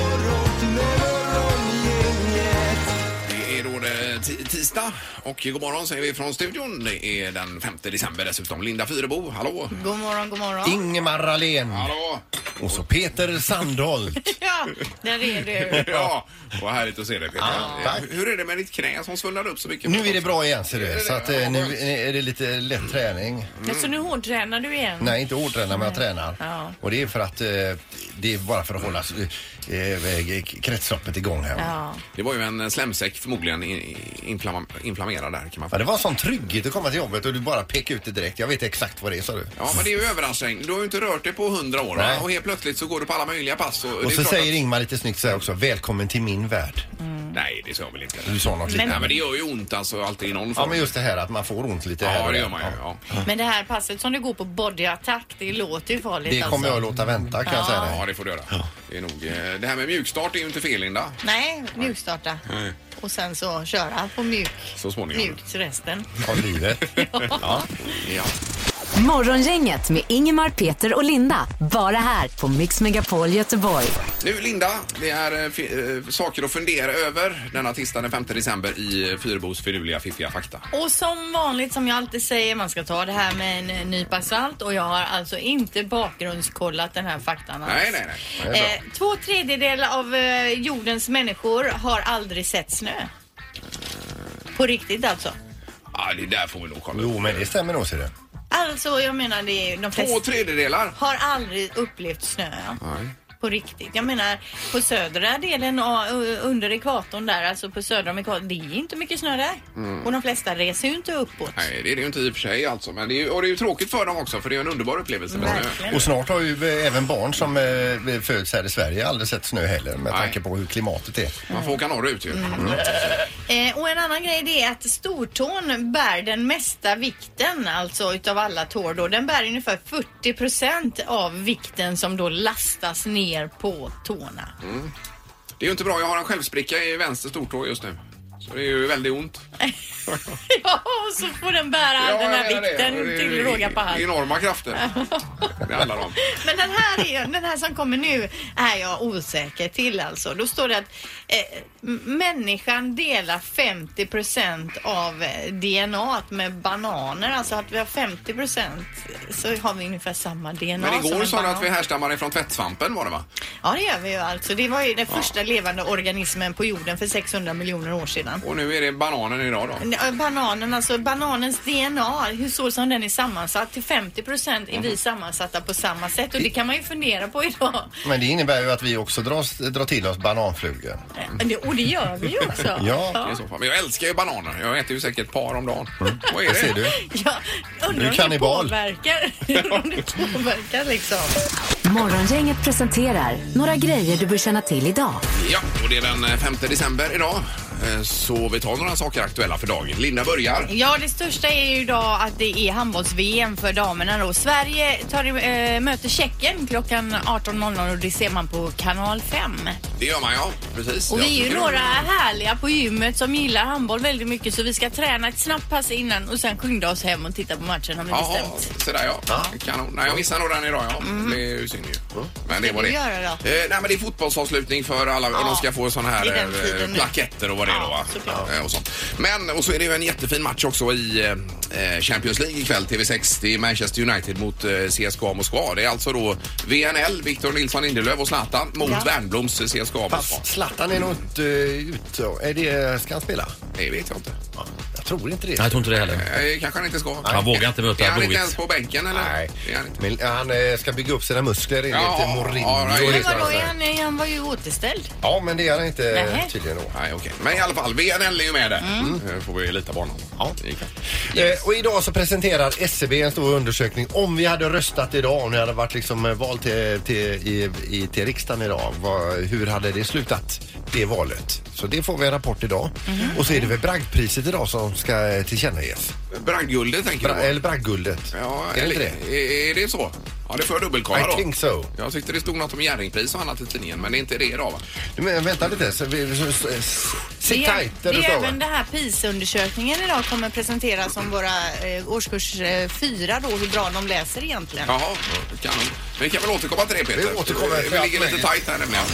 fredag eh, och god morgon säger vi från studion. Det är den 5 december dessutom. Linda Fyrebo, hallå! God morgon, god morgon. Ingemar Ahlén. Hallå! Och så Peter Sandholt. Ja, där är du. Ja, vad härligt att se dig Peter. Eh, Ja, tack. Hur är det med ditt knä som svullnar upp så mycket? Nu är det bra igen ser du. Så att, Ja, eh, nu skönt. är det lite lätt träning. Ja, så nu hårdtränar du igen? Nej, inte hårdtränar men jag tränar. Ja. Och det är för att eh, det är bara för att hålla eh, eh, kretsloppet igång här. Ja. Ja. Det var ju en eh, slemsäck förmodligen i- inflamma, inflammerad där kan man få. det var sån trygghet att komma till jobbet och du bara pekade ut det direkt. Jag vet exakt vad det är sa du. Ja, men det är ju överraskning. Du har ju inte rört dig på hundra år Nej. va? och helt plötsligt så går du på alla möjliga pass. Och, det är Och så klart säger att... Ingmar lite snyggt så här också. Välkommen till min värld. Nej, det sa jag väl inte. Du sa något Nej, liknande. men det gör ju ont alltså alltid i någon Ja form. men just det här att man får ont lite här Ja, och det där. gör man ju. Ja. Men det här passet som du går på body attack, det låter ju farligt Det kommer jag att alltså. låta vänta kan jag säga dig. ja, det får du göra. Det, är nog, eh, det här med mjukstart är ju inte fel, Linda. Nej, mjukstarta. Nej. Och sen så köra på mjuk, Så småningom. mjukt resten. Av livet. Ja. Morgongänget med Ingemar, Peter och Linda. Bara här på Mix Megapol Göteborg. Nu, Linda, det är eh, fi- eh, saker att fundera över denna tisdag den 5 december i eh, Fyrebos finurliga fiffiga fakta. Och som vanligt som jag alltid säger, man ska ta det här med en nypa salt och jag har alltså inte bakgrundskollat den här faktan alls. Nej, nej, nej. Eh, två tredjedelar av eh, jordens människor har aldrig sett snö. På riktigt alltså. Ja, det där får vi nog kolla upp. Jo men det stämmer nog ser du. Alltså jag menar det är de flesta... Två tredjedelar. har aldrig upplevt snö. Nej. På riktigt. Jag menar på södra delen av- u- under ekvatorn där, alltså på södra om ekvatorn, det är inte mycket snö där. Och de flesta reser ju inte uppåt. Mm. Nej, det är det ju inte i och för sig alltså. Men det är ju, och det är ju tråkigt för dem också för det är ju en underbar upplevelse med snö. Verkligen. Och snart har ju eh, även barn som eh, föds här i Sverige aldrig sett snö heller med Nej. tanke på hur klimatet är. Man får åka norrut ju. Mm. Eh, och en annan grej det är att stortån bär den mesta vikten, alltså utav alla tår då. Den bär ungefär 40 procent av vikten som då lastas ner på tårna. Mm. Det är ju inte bra. Jag har en självspricka i vänster stortå just nu. Så det är ju väldigt ont. ja, och så får den bära all den här jag menar vikten Det är till ju råga på allt. Enorma krafter. Det handlar om. Men den här, är, den här som kommer nu är jag osäker till alltså. Då står det att eh, m- människan delar 50 av eh, DNA t med bananer. Alltså att vi har 50 så har vi ungefär samma DNA Men som igår en sa du banan. att vi härstammar ifrån tvättsvampen var det va? Ja, det gör vi ju alltså. Det var ju den första levande organismen på jorden för 600 miljoner år sedan. Och nu är det bananen idag då. Ja, Bananen, alltså bananens DNA, hur så som den är sammansatt, till 50 är Mm. vi sammansatta på samma sätt och det kan man ju fundera på idag. Men det innebär ju att vi också dras, drar till oss bananflugor. Men det- Och det gör vi ju också. Ja. I så fall. Men jag älskar ju bananer. Jag äter ju säkert ett par om dagen. Vad är Det ser du. det? Ja, Du undrar om det kannibal. påverkar. om det påverkar liksom. Morgongänget presenterar några grejer du bör känna till idag. Ja, och det är den eh, 5 december idag. Eh, Så vi tar några saker aktuella för dagen. Linda börjar. Ja, det största är ju idag att det är handbolls-VM för damerna då. Sverige tar, eh, möter Tjeckien klockan 18.00 och det ser man på kanal 5. Det gör man ja, precis. Och Jag vi är ju tycker några det. härliga på gymmet som gillar handboll väldigt mycket så vi ska träna ett snabbt pass innan och sen skynda oss hem och titta på matchen har vi Jaha, bestämt. sådär ja. Kanon. Nej, jag missar nog den idag ja. Det är ju synd ju. Men det var du det. göra då? Eh, nej, men det är fotbollsavslutning för alla och de ska få såna här det är den eh, tiden nu. plaketter och vad det är Ja, då va? såklart. Eh, och sånt. Men, och så är det ju en jättefin match också i eh, Champions League ikväll. TV6, det är Manchester United mot eh, CSKA Moskva. Det är alltså då VNL, Victor Nilsson Lindelöf och Zlatan mot Ja. Värnbloms CSKA Moskva. Fast Zlatan är nog inte eh, ute. Är det, ska han spela? Det vet jag inte. Jag tror inte det. Jag tror inte det heller. Eh, kanske han inte ska. Han vågar inte möta Är han inte Blåvitt. ens på bänken eller? Nej, Är han inte? men han eh, ska bygga upp sina muskler enligt Ja, ja, Mourinho. ja, och ja, det Men just sådana vadå, är där. han, han var ju återställd. Ja, men det är han inte eh, Nähä. tydligen då. Nej, okej. Men i alla fall, VNL är ju med där. Mm. Eh, Får vi lita på honom. Ja. Eh, Och idag så presenterar SCB en stor undersökning om vi hade röstat idag, om det hade varit liksom eh, val till, till, i, i, till riksdagen idag, vad, hur hade det slutat? Det valet. Så det får vi en rapport idag. Och så är det väl Bragdpriset idag som ska eh, tillkännages. Brandguldet tänker Bra, du på? eller Bragdguldet. Ja, är det eller, inte det? Är, är det så? Ja, det får jag dubbelkolla I då. think so. Jag tyckte det stod något om Jerringpris och annat i tidningen, men det är inte det idag va? Men vänta lite. Så vi, så, så, s- sit tight det där du är står. även va? den här PIS-undersökningen idag kommer presenteras om våra eh, årskurs eh, fyra då, hur bra de läser egentligen. Jaha, kanon. Men vi kan väl återkomma till det Peter? Vi återkommer Vi för allt ligger lite möjligt. tajt här nämligen.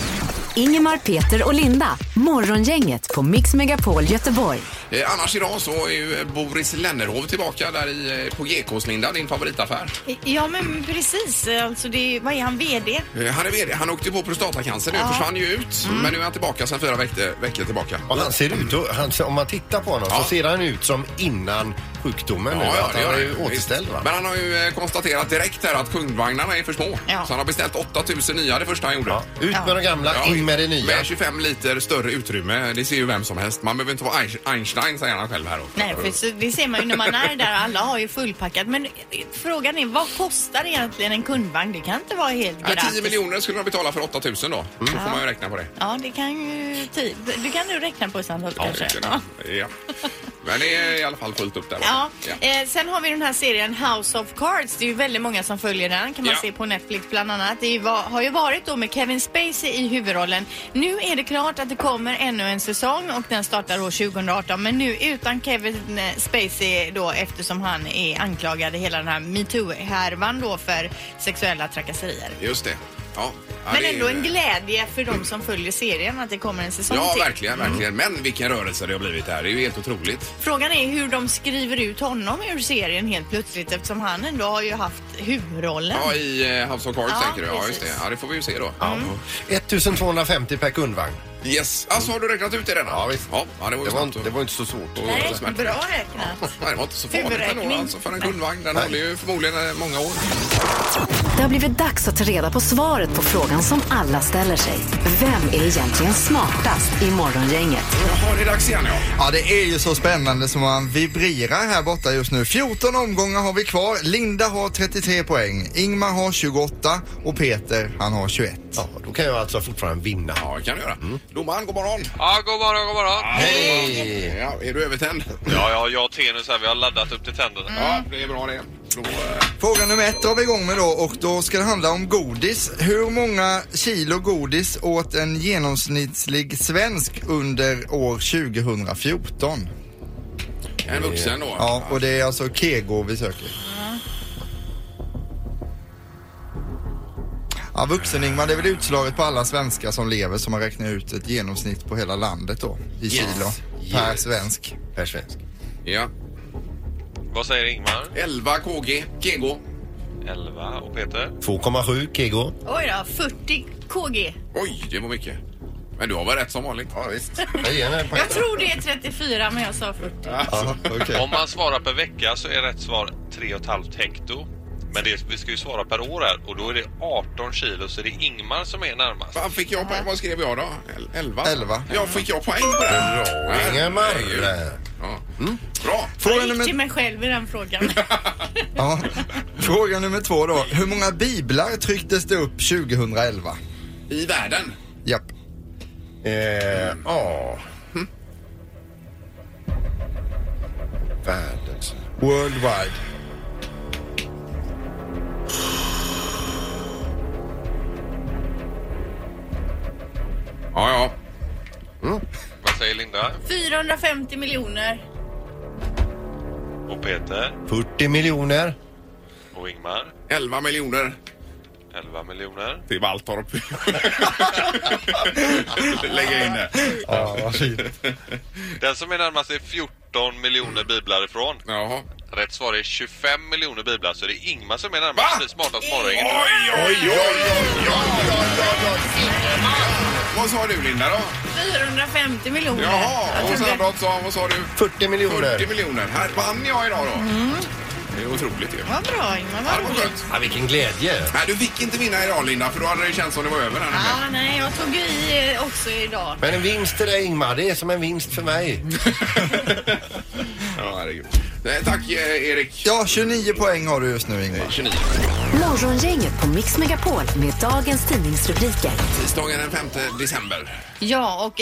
Ingemar, Peter och Linda. Morgongänget på Mix Megapol Göteborg. Eh, annars idag så är ju eh, Boris Lennerhov tillbaka där i, eh, på GKs, Linda, din favoritaffär. Ja, men precis. Alltså, det är, vad är han, VD? Eh, han är vd, han åkte på prostatacancer nu, försvann ju ut. Mm. Men nu är han tillbaka sen fyra veckor, veckor tillbaka. Och han ser ut, och- han, om man tittar på honom Ja. så ser han ut som innan sjukdomen nu. att han gör är det. ju återställd va? Men han har ju eh, konstaterat direkt här att kundvagnarna är för små. Ja. Så han har beställt 8000 nya det första han gjorde. Ja. Ut Ja. med de gamla, Ja, in med det nya. Med 25 liter större utrymme, det ser ju vem som helst. Man behöver inte vara Einstein- Einstein, säger han själv här. då. Nej, för så, det ser man ju när man är där. Alla har ju fullpackat. Men eh, frågan är, vad kostar egentligen en kundvagn? Det kan inte vara helt Ja, 10 gratis. miljoner skulle de betala för 8000 då. Så får man ju räkna på det. Ja, det kan ju... Ty, det kan du räkna på Sandholt kanske. Ja. Ja. Men det är i alla fall fullt upp där. va? Ja. Ja. Eh, sen har vi den här serien House of Cards. Det är ju väldigt många som följer den. kan man Ja. se på Netflix bland annat. Det är ju va- har ju varit då med Kevin Spacey i huvudrollen. Nu är det klart att det kommer ännu en säsong och den startar år 2018. Men nu utan Kevin eh, Spacey då eftersom han är anklagad i hela den här metoo-härvan då för sexuella trakasserier. Just det. Ja. Ja, Men det är ändå ju- en glädje för de som följer serien att det kommer en säsong Ja, till. verkligen, verkligen. Men vilken rörelse det har blivit här. Det är ju helt otroligt. Frågan är hur de skriver ut honom ur serien helt plötsligt eftersom han ändå har ju haft huvudrollen. Ja, i eh, House of Cards Ja, tänker du. Ja, just precis. det. Ja, det får vi ju se då. 1250 per kundvagn. Yes. Alltså, har du räknat ut det redan? Ja, visst. Ja, ja, det var ju Det var, snabbt. inte- det var inte så svårt. och- Nej, och smärtfritt. bra räknat. Nej, det var inte så farligt ändå Huvudräkning. alltså, för en kundvagn. Den håller ju förmodligen eh, många år. Det har blivit dags att ta reda på svaret på frågan som alla ställer sig. Vem är egentligen smartast i Morgongänget? Jaha, det är dags igen ja. Ja, det är ju så spännande som man vibrerar här borta just nu. 14 omgångar har vi kvar. Linda har 33 poäng, Ingmar har 28 och Peter han har 21. Ja, då kan jag alltså fortfarande vinna. Ja, det kan du göra. Mm. Domaren, god morgon. Ja, god morgon, god morgon. Hej! Ja, är du övertänd? Mm. Ja, ja, jag och Tenus här, vi har laddat upp till tänderna. Ja, det är bra det. Då, eh, Fråga nummer ett drar vi igång med då och då ska det handla om godis. Hur många kilo godis åt en genomsnittlig svensk under år 2014? en vuxen då. Ja, och det är alltså Kego vi söker. Ja, vuxen Ingmar, det är väl utslaget på alla svenskar som lever som har räknat ut ett genomsnitt på hela landet då i kilo per Yes. svensk. Per svensk. Ja. Vad säger Ingmar? 11 KG, Kego. 11 och Peter? 2,7 kg. Oj då, 40 KG. Oj, det var mycket. Men du har väl rätt som vanligt? Ja, visst. Jag ger henne en poäng. Jag tror det är 34 men jag sa 40. Ja, okej. Om man svarar per vecka så är rätt svar 3,5 hekto. Men det, vi ska ju svara per år här och då är det 18 kilo så det är Ingmar som är närmast. Vad fick jag poäng? Vad skrev jag då? 11? Elva. Ja, fick jag poäng på det? Bra, Ingemar. Ja. Bra. Fråga Jag gick till nummer, mig själv i den frågan. ja, fråga nummer två då. Hur många biblar trycktes det upp 2011? I världen. Japp. Eh, ja. Världens... Worldwide. Ja, ja. Vad säger Linda? 450 miljoner. Och Peter? 40 miljoner. Och Ingmar? 11 miljoner 11 miljoner? till Valtorp. Lägga in det. Ja, vad fint. Den som är närmast är 14 miljoner biblar ifrån. Jaha. Rätt svar är 25 miljoner biblar så det är Ingmar som är närmast. Va? Det är Smartast morgon. Oj, oj, oj, oj, oj, oj, oj, oj. Vad sa du Linda då? 450 miljoner. Jaha, Jag och trodde- Sandholt sa, vad sa du? 40 miljoner. 40 miljoner. Här vann jag idag då. Mm. Det är otroligt ju. Vad bra Ingmar, Ja, det vad var roligt. skönt. Ja, vilken glädje. Nej, du fick inte vinna idag Linda, för då hade det känts som det var över här nämligen. Ja, nej, jag tog ju i eh, också idag. Men en vinst till dig Ingmar, det är som en vinst för mig. Ja, herregud. Nej, Tack eh, Erik. Ja, 29 poäng har du just nu Ingmar. 29. Morgongänget på Mix Megapol med dagens tidningsrubriker. Tisdagen den 5 december. Ja, och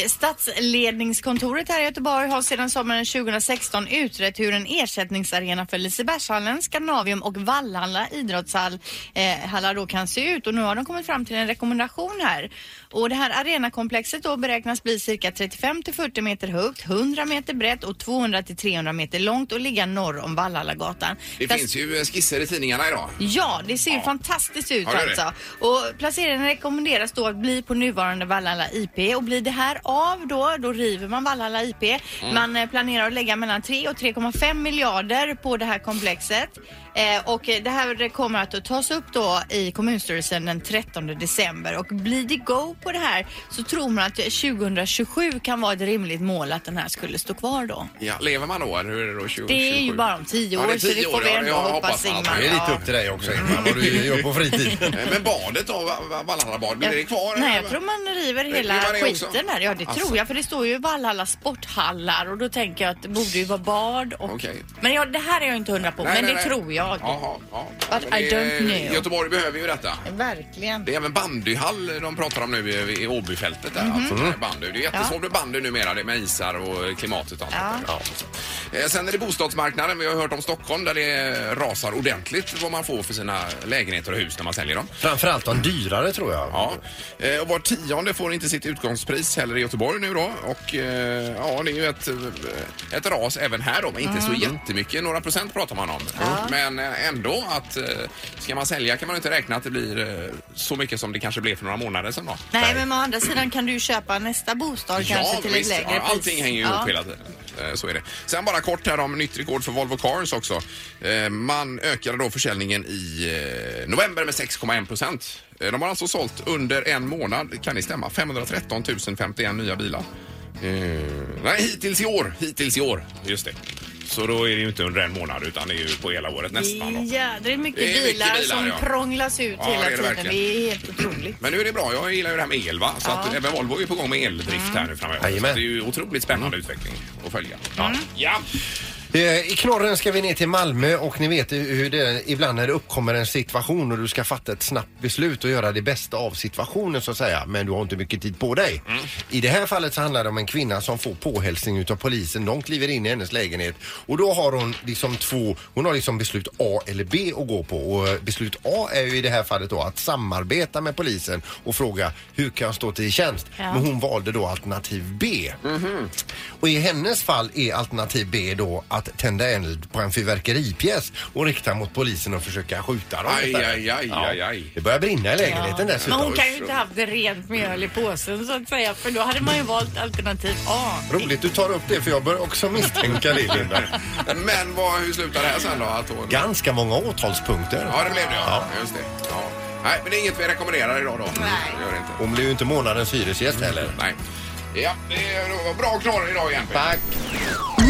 statsledningskontoret här i Göteborg har sedan sommaren 2016 utrett hur en ersättningsarena för Lisebergshallen, Scandinavium och Vallhalla idrottshallar eh, hallar då kan se ut. Och nu har de kommit fram till en rekommendation här. Och det här arenakomplexet då beräknas bli cirka 35 till 40 meter högt, 100 meter brett och 200 till 300 meter långt och ligga norr om Valhallagatan. Det Där- finns ju eh, skisser i tidningarna idag. Ja, det ser ju fantastiskt ut Ja, det gör det. alltså. Och placeringen rekommenderas då att bli på nuvarande Vallhalla IP och blir det här av då, då river man Vallhalla IP. Mm. Man eh, planerar att lägga mellan 3 och 3,5 miljarder på det här komplexet. Eh, och eh, det här kommer att tas upp då i kommunstyrelsen den 13 december och blir det go på det här så tror man att eh, 2027 kan vara ett rimligt mål att den här skulle stå kvar då. Ja, lever man då? eller Hur är det då? 20, Det är ju 27? bara om 10 Ja, år det är så det 10 får år, vi ja, ändå jag hoppas hoppas man. Ingmar. Det är Ja. lite upp till dig också Ingmar, vad du gör på fritiden. Eh, Men badet då? Va- va- Valhallabad, blir Jag- det kvar? Nej, eller? jag tror man river Det- hela river man det också? skiten där. Ja, det Alltså. tror jag. För det står ju Valhalla sporthallar och då tänker jag att det borde ju vara bad. Och... Okej. Men ja, det här är jag inte hundra på, Nej, men nej, det nej. tror jag. Jaha, ja. But Men I det- don't know. Göteborg behöver ju detta. Verkligen. Det är även bandyhall de pratar om nu i, i Åbyfältet. Mhm. Där, alltså, där är bandy. Det är jättesvårt med bandy numera det är med isar och klimatet och allt Ja. det där. Eh, Sen är det bostadsmarknaden. Vi har hört om Stockholm där det rasar ordentligt vad man får för sina lägenheter och hus när man säljer dem. Framförallt de dyrare tror jag. Ja, eh, och var tionde får inte sitt utgångspris heller i Göteborg nu då. Och eh, ja, det är ju ett, eh, ett ras även här då, men inte Mm. så jättemycket. Några procent pratar man om. Men eh, ändå att eh, ska man sälja kan man ju inte räkna att det blir eh, så mycket som det kanske blev för några månader sedan då. Nej, men å andra sidan kan du ju köpa nästa bostad kanske till ett lägre Ja, pris. allting hänger ju ihop hela tiden. Eh, Så är det. Sen bara kort här om nytt rekord för Volvo Cars också. Eh, Man ökade då försäljningen i eh, november med 6,1 procent. De har alltså sålt under en månad, kan det stämma, 513 051 nya bilar. Eh, Nej, hittills i år. Hittills i år. Just det. Så då är det ju inte under en månad utan det är ju på hela året nästan. Då. Jädrigt mycket, Det är mycket bilar bilar, som ja. prånglas ut Ja, det hela är det tiden. verkligen. Det är helt otroligt. Men nu är det bra. Jag gillar ju det här med el va? Så att även Volvo är på gång med eldrift här nu framöver. Så Jajamän. det är ju otroligt spännande utveckling att följa. Ja. Mm. Ja. Eh, I knorren ska vi ner till Malmö och ni vet ju hur det är ibland när det uppkommer en situation och du ska fatta ett snabbt beslut och göra det bästa av situationen så att säga. Men du har inte mycket tid på dig. I det här fallet så handlar det om en kvinna som får påhälsning utav polisen. De kliver in i hennes lägenhet och då har hon liksom två, hon har liksom beslut A eller B att gå på och eh, beslut A är ju i det här fallet då att samarbeta med polisen och fråga hur kan jag stå till tjänst? Ja. Men hon valde då alternativ B. Mhm. Och i hennes fall är alternativ B då att tända eld på en fyrverkeripjäs och rikta mot polisen och försöka skjuta dem. Aj, aj, aj, aj, aj. Det börjar brinna i lägenheten Men dessutom. hon kan ju inte haft rent mjöl i påsen så att säga för då hade man ju valt alternativ A. Roligt du tar upp det för jag börjar också misstänka det Linda. Men vad, hur slutar det här sen då? Att hon... Ganska många åtalspunkter. Ja, det blev det. Ja. Just det. Ja. Nej, men det är inget vi rekommenderar idag då. Nej. Det gör det inte. Hon blir ju inte månadens hyresgäst heller. Nej. Ja, det är det var bra knorr idag igen. Peter. Tack!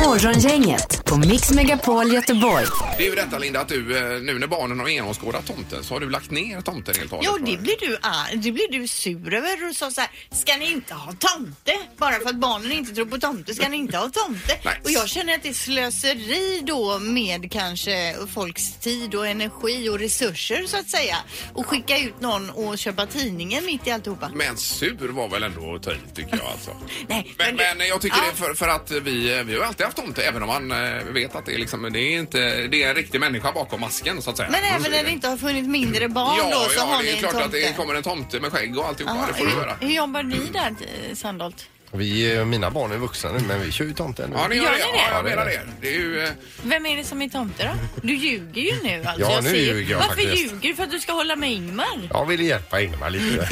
Morgongänget på Mix Megapol Göteborg. Det är ju detta Linda, att du eh, nu när barnen har genomskådat tomten så har du lagt ner tomten helt och Ja, hållet. det blir du, arg- det blir du sur över och sa så här, ska ni inte ha tomte? Bara för att barnen inte tror på tomte ska ni inte ha tomte. Nej. Och jag känner att det är slöseri då med kanske folks tid och energi och resurser så att säga. Och skicka ut någon och köpa tidningen mitt i alltihopa. Men sur var väl ändå att ta i, tycker jag alltså. Nej, Men, det- men jag tycker Ja. det är för, för att vi, eh, vi har ju alltid haft tomte även om man eh, vet att det är liksom, det är inte, det är en riktig människa bakom masken så att säga. Men Så även är när det inte har funnits mindre barn ja, då så ja, har det ni är en klart tomte. att det kommer en tomte med skägg och alltihopa. Jaha, det får du göra. hur, hur jobbar ni där eh, Sandholt? Vi, eh, mina barn är vuxna nu men vi kör ju tomten nu. Ja, ni gör, Gör det. ni det? Ja, jag menar det. Det är ju... eh, Vem är det som är tomte då? Du ljuger ju nu alltså. Ja, nu ljuger jag Varför faktiskt. ljuger du? För att du ska hålla med Ingmar? Jag ville hjälpa Ingmar lite.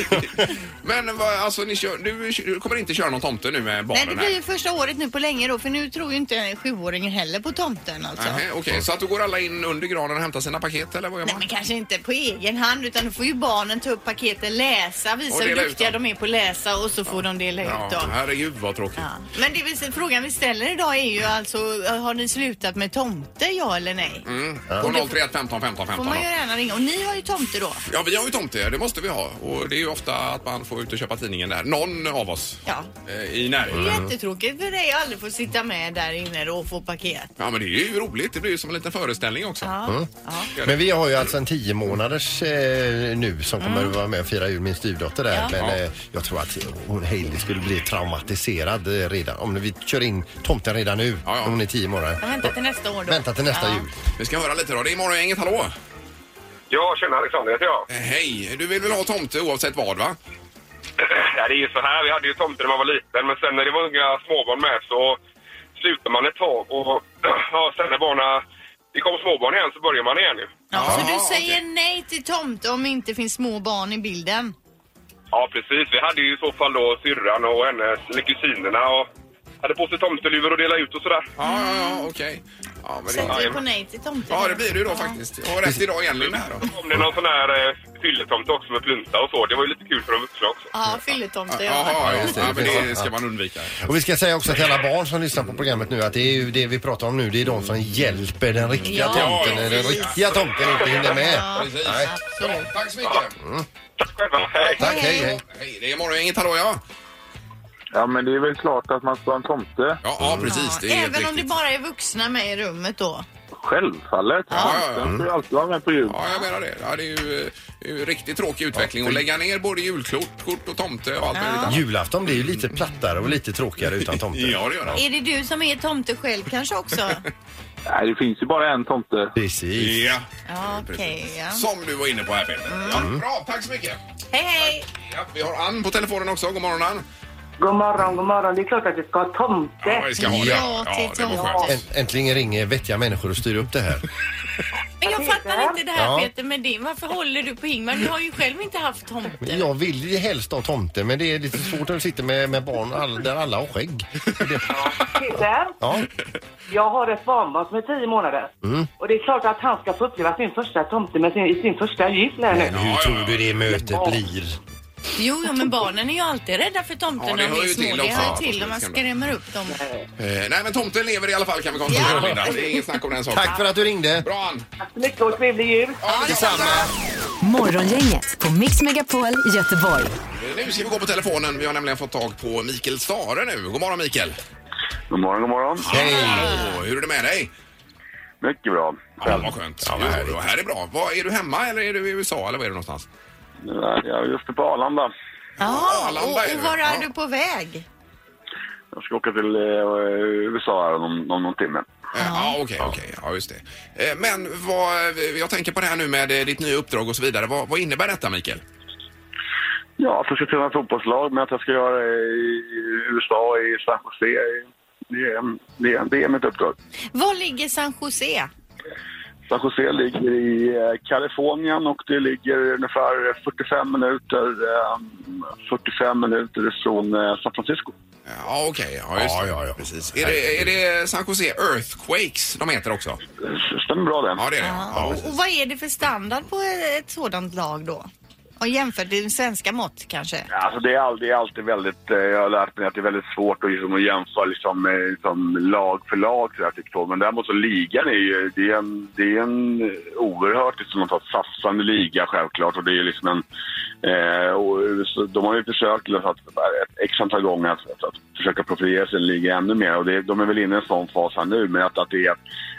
Men vad, alltså, ni kör, du, du kommer inte köra någon tomte nu med barnen Nej, det blir ju första året nu på länge då, för nu tror ju inte sjuåringen heller på tomten alltså. här? Nähä, Okej, så att då går alla in under granen och hämtar sina paket eller vad gör Nej, man? men kanske inte på egen hand, utan då får ju barnen ta upp paketen, läsa, Och visa dela hur ut duktiga dem. de är på att läsa och så får de dela ut ja, dem. herregud vad tråkigt. Ja. Men det vill, frågan vi ställer idag är ju alltså, har ni slutat med tomte, ja eller nej? Mm. På 031 15 15 Får 15. man ju då. gärna ringa. Och ni har ju tomte då? Ja, vi har ju tomte, det måste vi ha. Och det är ju ofta att man får ut och köpa tidningen där. Någon av oss Ja. eh, i Det närheten. är jättetråkigt för dig att aldrig få sitta med där inne då och få paket. Ja, men det är ju roligt. Det blir ju som en liten föreställning också. Ja. Ja. Men vi har ju alltså en tio månaders eh, nu som kommer att vara med och fira jul, min styvdotter där. Men Ja. eh, jag tror att hon Hailey skulle bli traumatiserad eh, redan. Om vi kör in tomten redan nu, Ja, ja. när hon är tio månader. Jag väntar till nästa år då. Vänta till nästa Ja. jul. Vi ska höra lite då. Det är Morgongänget, hallå! Ja, tjena Alexander heter jag. Eh, hej! Du vill väl ha tomte oavsett vad, va? Ja, det är ju så här. Vi hade ju tomter när man var liten, men sen när det var unga småbarn med så slutar man ett tag och ja, sen när barna, det kom småbarn igen så börjar man igen ju. Ja, Ja, så du säger okej. nej till tomte om det inte finns små barn i bilden? Ja, precis. Vi hade ju i så fall då syrran och hennes, eller kusinerna och hade på sig tomteluvor och dela ut och sådär. Ja, ja, ja, okej. Ja, men det, Sätter du jajamän. på nej till tomte? ja, det blir det ju då faktiskt. Och rätt idag igen Linda. här då. Om det är någon sån här eh, fylletomte också med plunta och så. Det var ju lite kul för de vuxna också. Ja, fylletomte. Ja. Jaha, ja, just det. ja, men det ska man undvika. Och vi ska säga också till alla barn som lyssnar på programmet nu att det är ju det vi pratar om nu, det är de som hjälper den riktiga Ja. tomten när den riktiga tomten inte hinner med. Precis. Nej. Bra, Tack så mycket. Tack själva. Hej! Tack, hej, hej. Hej, det är morgon, inget hallå ja. Ja, men det är väl klart att man ska ha en tomte. Ja, ja precis. Det är helt Även om det riktigt. bara är vuxna med i rummet då? Självfallet. Ja, ja, ja. Den ska ju alltid vara med på jul. Ja, jag menar det. Ja, det är ju, eh, det är ju riktigt tråkig utveckling att lägga ner både julkort kort och tomte och allt möjligt annat. Julafton blir ju lite plattare och lite tråkigare utan tomten. Ja, det gör det. Är det du som är tomte själv kanske också? Nej, det finns ju bara en tomte. Precis. Ja, Mm. Ja, okej. ja. som du var inne på här Peter. Ja, bra, tack så mycket. Hej, hej! Ja, vi har Ann på telefonen också. God morgon Ann. God morgon, god morgon. Det är klart att vi ska ha Ja, tomte. vi ska ha det. Ja, till det var tomte. skönt. Änt, äntligen ringer vettiga människor och styr upp det här. Men jag fattar inte det här Ja. Peter med din. Varför håller du på Ingmar? Du har ju själv inte haft tomte. Jag vill ju helst ha tomte men det är lite svårt när du sitter med, med barn all, där alla har skägg. Peter, Ja, jag har ett barnbarn som är tio månader. Mm. Och det är klart att han ska få uppleva sin första tomte med sin, i sin första jul här nu. hur tror du det mötet blir? Jo, jo, men barnen är ju alltid rädda för tomten Ja, det när de hör är ju till små. Det också. hör ju till om man Absolut. skrämmer upp dem. Eh, nej, men tomten lever i alla fall kan vi konstatera Ja. Linda. Det är inget snack om den saken. Tack för att du ringde. Bra Ann. Tack så mycket och trevlig jul. Ja, detsamma. Morgongänget på Mix Megapol Göteborg. Eh, Nu ska vi gå på telefonen. Vi har nämligen fått tag på Mikael Stare nu. God morgon Mikael. God morgon, god morgon. Hallå, hur är det med dig? Mycket bra. Ja, vad skönt. Ja, här, är- här är bra. Vad, är du hemma eller är du i USA eller var är du någonstans? Ja, Jag är just på Arlanda. Ja, Arlanda och, är och det. var Ja. är du på väg? Jag ska åka till eh, USA här om, om någon timme. Eh, Ja, okej, okej. Ja, just det. Eh, Men vad, jag tänker på det här nu med eh, ditt nya uppdrag och så vidare. Vad, vad innebär detta Mikael? Ja, att jag ska träna fotbollslag, men att jag ska göra det i USA, i San Jose. Det är, det är, det är mitt uppdrag. Var ligger San Jose? San Jose ligger i eh, Kalifornien och det ligger ungefär 45 minuter, eh, 45 minuter från eh, San Francisco. Eh, Ja, okej. Ja, just Ja, det. ja, ja. Precis. Är det, är det San Jose Earthquakes de heter också? Stämmer bra det. Ja, det är det. Ja, och, och vad är det för standard på ett sådant lag då? Och jämfört med svenska mått kanske? Ja, Alltså det är, all, det är alltid väldigt, eh, jag har lärt mig att det är väldigt svårt att, liksom, att jämföra liksom, eh, liksom, lag för lag. Så där, typ, så. Men däremot så ligan är ju, det är en, det är en oerhört liksom, något slags satsande liga självklart. Och det är liksom en, eh, och, så, de har ju försökt liksom, att, ett x antal gånger att, att, att försöka profilera sin liga ännu mer. Och det, de är väl inne i en sån fas här nu. Men att, att det är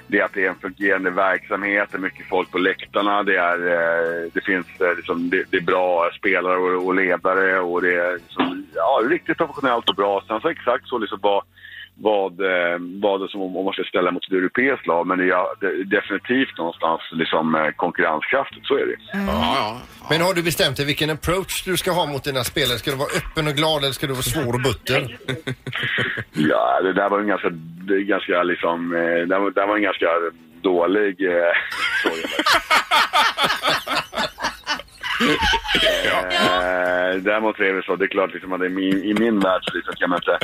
det är att det är en fungerande verksamhet, det är mycket folk på läktarna, det, är, eh, det finns eh, liksom, det, det är bra spelare och, och ledare och det är liksom, ja, riktigt professionellt och bra. Sen så exakt så liksom vad, vad, eh, vad det som om om man ska ställa mot ett europeiskt lag, men det är ja, de- definitivt någonstans liksom eh, konkurrenskraftigt, så är det. Ja, ja. Men har du bestämt dig vilken approach du ska ha mot dina spelare? Ska du vara öppen och glad eller ska du vara svår och butter? Ja, det där var en ganska, det är ganska liksom, eh, det där var, det där var en ganska dålig eh, fråga. Eh, Däremot är det så, det är klart liksom, att det är min, i min värld så liksom, kan man inte...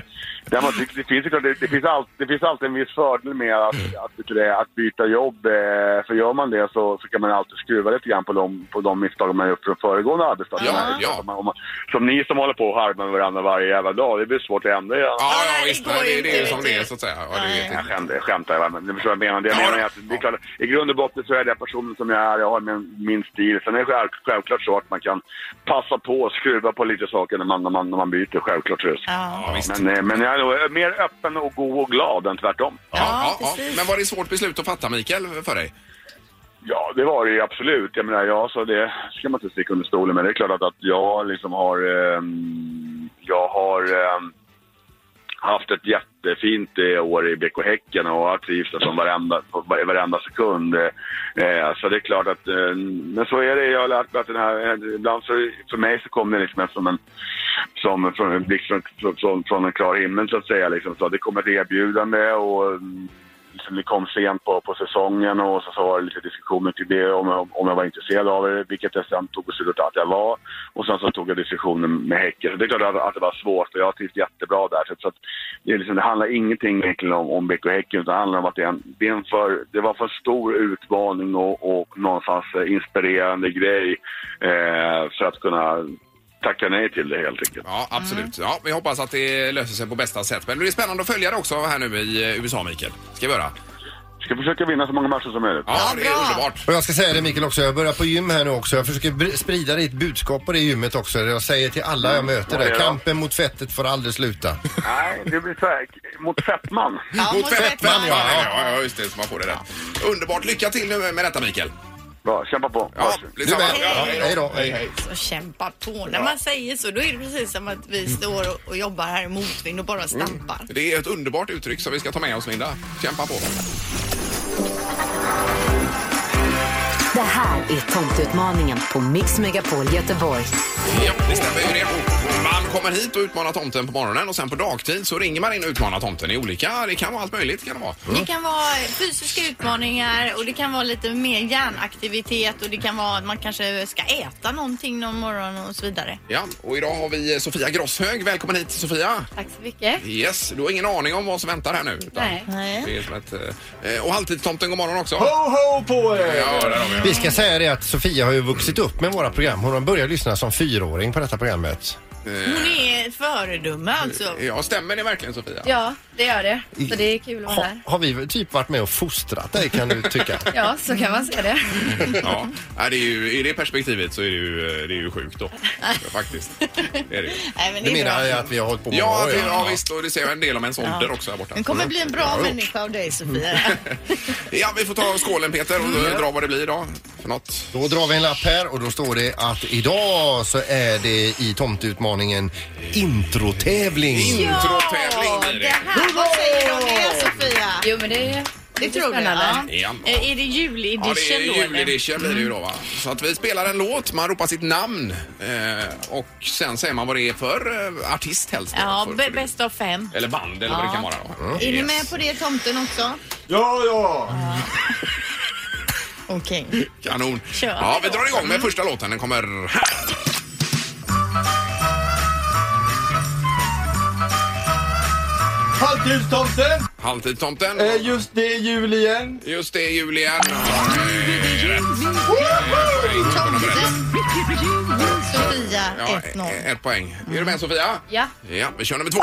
Däremot, det, det, finns, ju klart- det, det, finns all, det finns alltid en viss fördel med att, att, vet du det, att byta jobb. Eh, för gör man det så, så kan man alltid skruva lite grann på de, på de misstag man gjort från föregående arbetsdag. Ja, ja. Om man, om man, som ni som håller på och harvar med varandra varje jävla dag, det blir svårt att ändra. Ja. Ja, ja, Nej, det visst. går Nej, Det, inte, det är ju vet som du. det är så att säga. Ja, det Nej. vet jag. Jag skämtar, jag skämtar jag, men du förstår vad jag menar. Det jag menar är att det är klart, i grund och botten så är det personen som jag är, jag har min, min stil. Sen är det själv, självklart så att man kan passa på och skruva på lite saker när man, när man, när man byter, självklart. så är det så. Ja. Ja, visst. Men, eh, men jag är nog mer öppen och god och glad än tvärtom. Ja, Ja, ja, ja. precis. Men var det ett svårt beslut att fatta Mikael för dig? Ja, det var det ju absolut. Jag menar, ja, så det ska man inte sticka under stolen med. Det är klart att, att jag liksom har... ehm, jag har... ehm, haft ett jättefint eh, år i BK Häcken och har trivts där som varenda, på varenda sekund. Eh, så det är klart att, eh, men så är det. Jag har lärt mig att den här, eh, ibland så, för mig så kom det liksom som en som från en blick från, från, från en klar himmel så att säga. Liksom. Så det kom ett erbjudande och mm, liksom, det kom sent på, på säsongen och så, så var det lite diskussioner till det om, jag- om jag var intresserad av det, vilket jag sen tog beslutet att jag var. Och sen så tog jag diskussionen med Häcken. Så det är klart att, att det var svårt och jag har trivts jättebra där. Så, så att, det, är liksom, det handlar ingenting egentligen om, om BK Häcken utan det handlar om att det, är en, det, är en för, det var för stor utmaning och, och någonstans eh, inspirerande grej eh, för att kunna tacka nej till det helt enkelt. Ja, absolut. Ja, vi hoppas att det löser sig på bästa sätt. Men det är spännande att följa det också här nu i eh, USA, Mikael. Ska vi göra? Ska försöka vinna så många matcher som möjligt. Ja, det är bra. underbart. Och jag ska säga det Mikael också, jag börjar på gym här nu också. Jag försöker br- sprida ditt budskap på det gymmet också. Jag säger till alla jag möter Ja, det där, är kampen mot fettet får aldrig sluta. Nej, det blir så här, mot Fettman. Ja, Mot Fettman, ja. ja. Ja, ja, just det. Så man får det rätt. Underbart. Lycka till nu med detta, Mikael. Bra, kämpa på. Ja, Varsågod. Du detsamma. med? Ja, Hej då. Hej. Så Alltså, kämpa på. När man säger så, då är det precis som att vi står och- och jobbar här i motvind och bara stampar. Det är ett underbart uttryck som vi ska ta med oss, Linda. Kämpa på. Det här är Tomteutmaningen på Mix Megapol Göteborg. Ja, det stämmer ju det. Man kommer hit och utmanar tomten på morgonen och sen på dagtid så ringer man in och utmanar tomten i olika. Det kan vara allt möjligt kan det vara. Det kan vara fysiska utmaningar och det kan vara lite mer hjärnaktivitet och det kan vara att man kanske ska äta någonting någon morgon och så vidare. Ja, och idag har vi eh, Sofia Grosshög. Välkommen hit Sofia. Tack så mycket. Yes, du har ingen aning om vad som väntar här nu. utan Nej. Nej. Det är som ett, eh, och halvtidstomten, god morgon också. Ho, ho på er! Ja, där har vi Vi ska säga det att Sofia har ju vuxit upp med våra program. Hon har börjat lyssna som fyraåring på detta programmet. Hon är ett föredöme alltså. Ja, stämmer det verkligen Sofia? Ja, det gör det. Så det är kul att vara Ha, här. har vi typ varit med och fostrat dig kan du tycka? Ja, så kan man säga det. Ja, Nej, det är ju, i det perspektivet så är det ju, eh, det är ju sjukt då. Faktiskt. Det är det. ju. Nej, men Du det är menar bra. att vi har hållit på många Ja, år? det, ja, visst. Och det ser jag en del om ens ålder också här borta. Det kommer bli en bra människa av dig Sofia. Ja, vi får ta skålen Peter och Mm. dra vad det blir idag. För något. Då drar vi en lapp här och då står det att idag så är det i tomteutmaningen introtävling. Introtävling blir det det. här, vad säger du om det Sofia? Jo, men det är Det tror jag. spännande. Ja. Är det Ja, det är juledition då eller? Mm. juledition blir det ju då va. Så att vi spelar en låt, man ropar sitt namn eh, och sen säger man vad det är för eh, artist helst. då. Ja, för, b- för- bäst av fem. Eller band eller vad det kan vara då. Är ni Yes. med på det tomten också? Ja, ja! Okej. Kanon. Kör. Mm. Ja, vi drar igång med första låten. Den kommer här. Halvtidstomten! Halvtidstomten. Eh, just det, jul igen. Just det, jul igen. Ja, det är rätt. Eh, nummer ett. Sofia, Ja, eh, 1-0. Ett poäng. Är du med Sofia? Ja. Ja, vi kör nummer två.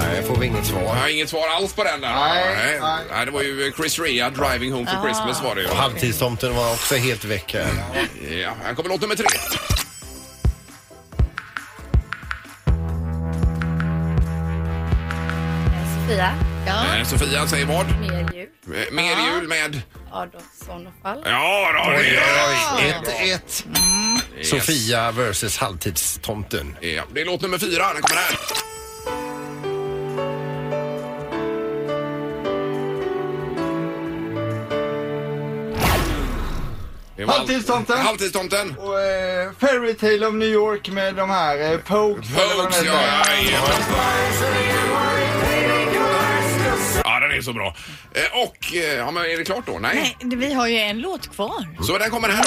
Nej, får vi inget svar. Jag har inget svar alls på den där. Nej, nej. nej. det var ju Chris Rea, Driving Home for Christmas var det ju. Halvtidstomten var också helt väck här. Ja, här kommer låt nummer tre. Sofia, Ja. Eh, Sofia säger vad? mer jul. Eh, Mer jul med... Adolfsson och Fall. Ja, då, det är... 1-1. Mm. Sofia versus halvtidstomten. Ja, det är låt nummer fyra. Den kommer här. Det var allt- Halvtidstomten. Halvtidstomten. Och eh, Fairy Tale of New York med de här eh, Pokes. eller vad de Folks, heter. ja, ja, ja. ja, den är så bra. Eh, Och, eh, ja men är det klart då? Nej. Nej, det- vi har ju en låt kvar. Så den kommer här.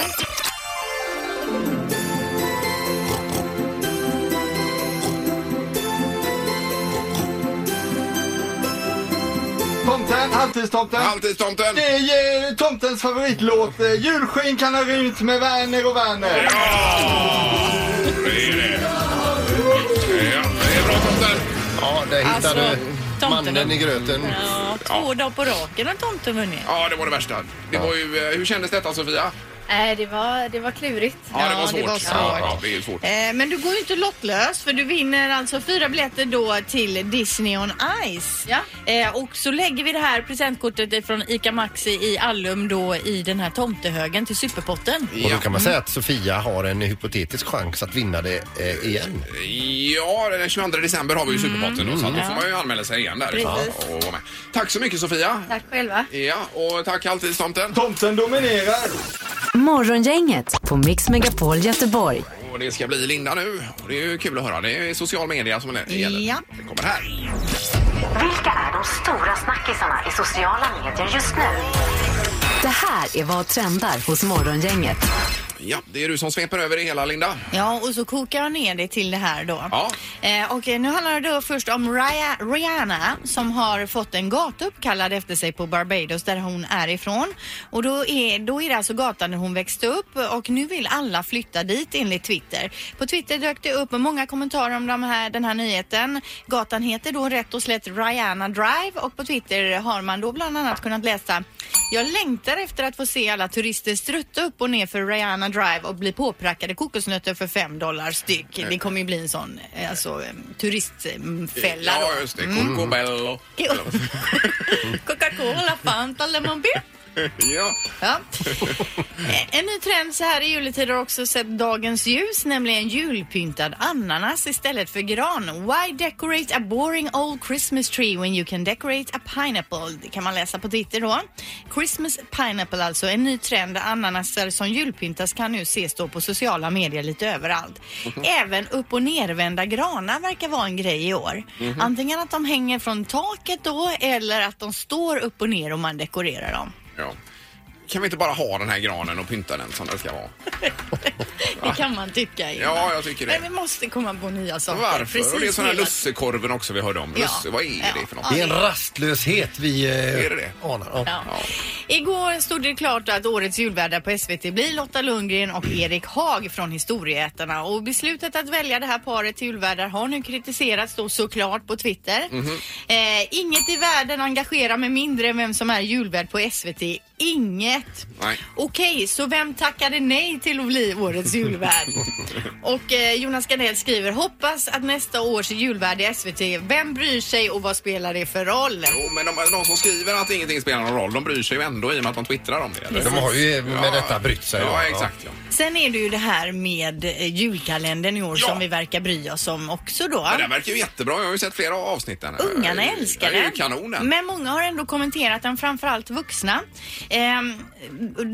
Tomten, halvtidstomten. Halvtidstomten. Det är eh, tomtens favoritlåt. Eh, Julskinkan har rymt med Werner och Werner. Ja, det är det. Ja, det är bra tomten. Ja, där hittar Alltså, du tomten. mannen i gröten. Ja, två dagar på raken har tomten vunnit. Ja, det var det värsta. Det var ju, eh, hur kändes detta Sofia? Nej, det var, det var klurigt. Ja, det var svårt. det var Ja, svårt. ja, det är ju svårt. Eh, Men du går ju inte lottlös för du vinner alltså fyra biljetter då till Disney on Ice. Eh, och så lägger vi det här presentkortet från ICA Maxi i Allum då i den här tomtehögen till superpotten. Och då kan man säga att Sofia har en hypotetisk chans att vinna det eh, igen. Ja, den 22 december har vi ju Superpotten då, så att då Ja. får man ju anmäla sig igen där. Precis. Och vara med. Tack så mycket Sofia. Tack själva. Ja, och tack halvtidstomten. Tomten dominerar. Morgongänget på Mix Megapol Göteborg. Och det ska bli Linda nu. Och det är ju kul att höra. Det är social media som det gäller. Ja. Det kommer här. Vilka är de stora snackisarna i sociala medier just nu? Det här är vad trendar hos Morgongänget. Ja, det är du som sveper över det hela Linda. Ja, och så kokar jag ner det till det här då. Ja. Eh, och eh, nu handlar det då först om Raya, Rihanna som har fått en gata uppkallad efter sig på Barbados där hon är ifrån. Och då är, då är det alltså gatan där hon växte upp och nu vill alla flytta dit enligt Twitter. På Twitter dök det upp många kommentarer om de här, den här nyheten. Gatan heter då rätt och slätt Rihanna Drive och på Twitter har man då bland annat kunnat läsa jag längtar efter att få se alla turister strutta upp och ner för Rihanna Drive och bli påprackade kokosnötter för 5 dollar styck. Det kommer ju bli en sån eh, alltså, eh, turistfälla då. Ja, just det. Cocobello. Coca-Cola, Fanta, Lemon Beer. Ja. Ja. Eh, En ny trend så här i juletid har också sett dagens ljus, nämligen julpyntad ananas istället för gran. Why decorate a boring old Christmas tree when you can decorate a pineapple? Det kan man läsa på Twitter då. Christmas pineapple alltså, en ny trend där ananaser som julpyntas kan nu ses då på sociala medier lite överallt. Även upp och nervända granar verkar vara en grej i år. Mhm. Antingen att de hänger från taket då eller att de står upp och ner och man dekorerar dem. ja. Kan vi inte bara ha den här granen och pynta den som den ska vara? Det kan man tycka. Ingmar. Ja, jag tycker det. Men vi måste komma på nya saker. Varför? och det är sån här hela- lussekorven också vi hörde om. Ja. Lusse, vad är det för något? Det är en rastlöshet vi eh, Är det det? anar. Ja. Ja. Igår stod det klart att årets julvärdar på SVT blir Lotta Lundgren och Erik Haag från Historieätarna. Och beslutet att välja det här paret till julvärdar har nu kritiserats då såklart på Twitter. Mhm. Eh, inget i världen engagerar mig mindre än vem som är julvärd på SVT. Inget. Nej. Okej, så vem tackade nej till att bli årets julvärd? Och eh, Jonas Gardell skriver hoppas att nästa års julvärd i SVT, vem bryr sig och vad spelar det för roll? Jo, men de, de som skriver att ingenting spelar någon roll, de bryr sig ju ändå i och med att de twittrar om det. eller? De har ju med detta brytt sig. Ja, då. exakt. Ja. Sen är det ju det här med eh, julkalendern i år som vi verkar bry oss om också då. Men den verkar ju jättebra. Jag har ju sett flera avsnitt där. Ungarna Eh, älskar det är ju den. kanonen. Men många har ändå kommenterat den, framförallt vuxna. Ehm,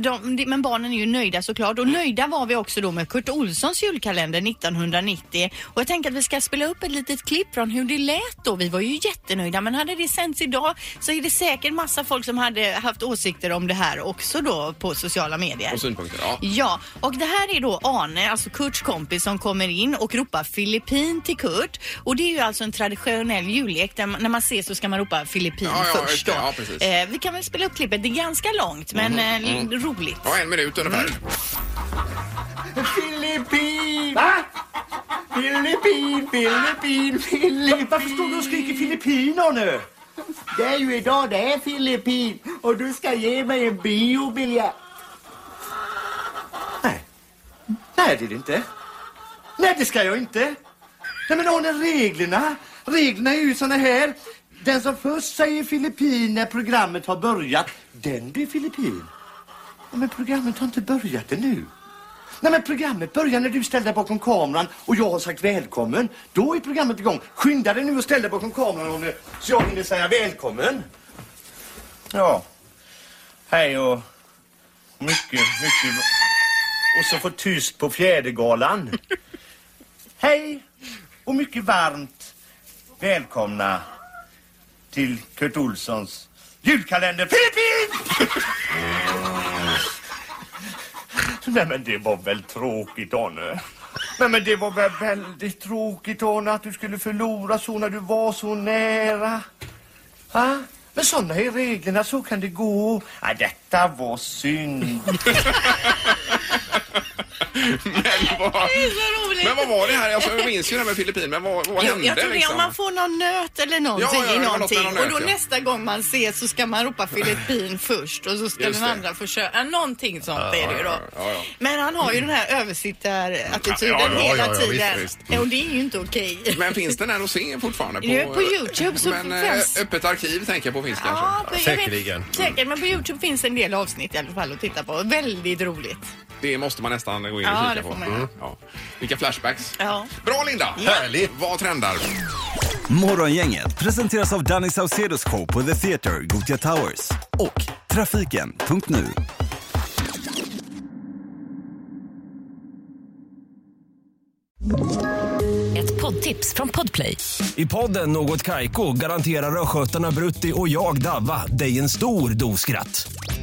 de, de, men barnen är ju nöjda såklart. Och nöjda var vi också då med Kurt Olssons julkalender 1990. Och jag tänker att vi ska spela upp ett litet klipp från hur det lät då. Vi var ju jättenöjda, men hade det sänts idag så är det säkert massa folk som hade haft åsikter om det här också då på sociala medier. Och synpunkter. Ja. Ja, och det här är då Arne, alltså Kurts kompis som kommer in och ropar Filippin till Kurt. Och det är ju alltså en traditionell jullek där man, när man ses så ska man ropa Filippin Ja, ja, först då. just det. Ja, precis. eh, vi kan väl spela upp klippet, det är ganska långt men Mhm. eh, Mm. roligt. ja, en minut ungefär. Mm. Filippin! Va? Filippin, Filippin, Filippin! Varför står du och skriker filippiner nu? Det är ju idag det är Filippin och du ska ge mig en biobiljett. Nej. Nej, det är det inte. Nej, det ska jag inte. Nej, men Arne, reglerna. Reglerna är ju såna här. Den som först säger Filippin när programmet har börjat, den blir Filippin. Ja, Men programmet har inte börjat ännu. Nej men programmet börjar när du ställer dig bakom kameran och jag har sagt välkommen. Då är programmet igång. Skynda dig nu och ställ dig bakom kameran om du, så jag hinner säga välkommen. Ja. Hej och mycket, mycket. Och så få tyst på fjädergalan. Hej och mycket varmt välkomna till Kurt Olssons julkalender Filippin! Nej men det var väl tråkigt Arne. Nej men det var väl väldigt tråkigt Arne att du skulle förlora så när du var så nära. Va? Men sådana är reglerna, så kan det gå. Nej, detta var synd. Vad- Det är så roligt. Men vad var det här? Alltså, jag minns ju det här med Filippinerna, men vad, vad Jo, hände jag tror det är liksom? om man får någon nöt eller någonting Ja, ja, det i var något någonting. med någon nöt, och då ja. nästa gång man ses så ska man ropa Filippin först och så ska Just den det. andra få köra. Eh, Någonting sånt Ja, är det ju då. ja, ja, ja. Men han har ju den här översittarattityden Ja, ja, ja, hela ja, ja, visst, tiden. visst. Och det är ju inte okej. Men finns den här att se fortfarande? Det är på Youtube så Men eh, finns- öppet arkiv tänker jag på finns Ja, kanske. Mm. på- jag vet- Säkert, men på Youtube finns en del avsnitt i alla fall att titta på. Väldigt roligt. Det måste man nästan gå in och Ja, kika det på. Mm. får man göra. Ja. Vilka flashbacks. Ja. Bra Linda! Härligt! Vad trendar? Morgongänget presenteras av Danny Saucedos show på The Theatre, Gothia Towers och Trafiken.nu. Ett poddtips från Podplay. I podden Något Kaiko garanterar östgötarna Brutti och jag, Davva, dig en stor dos skratt.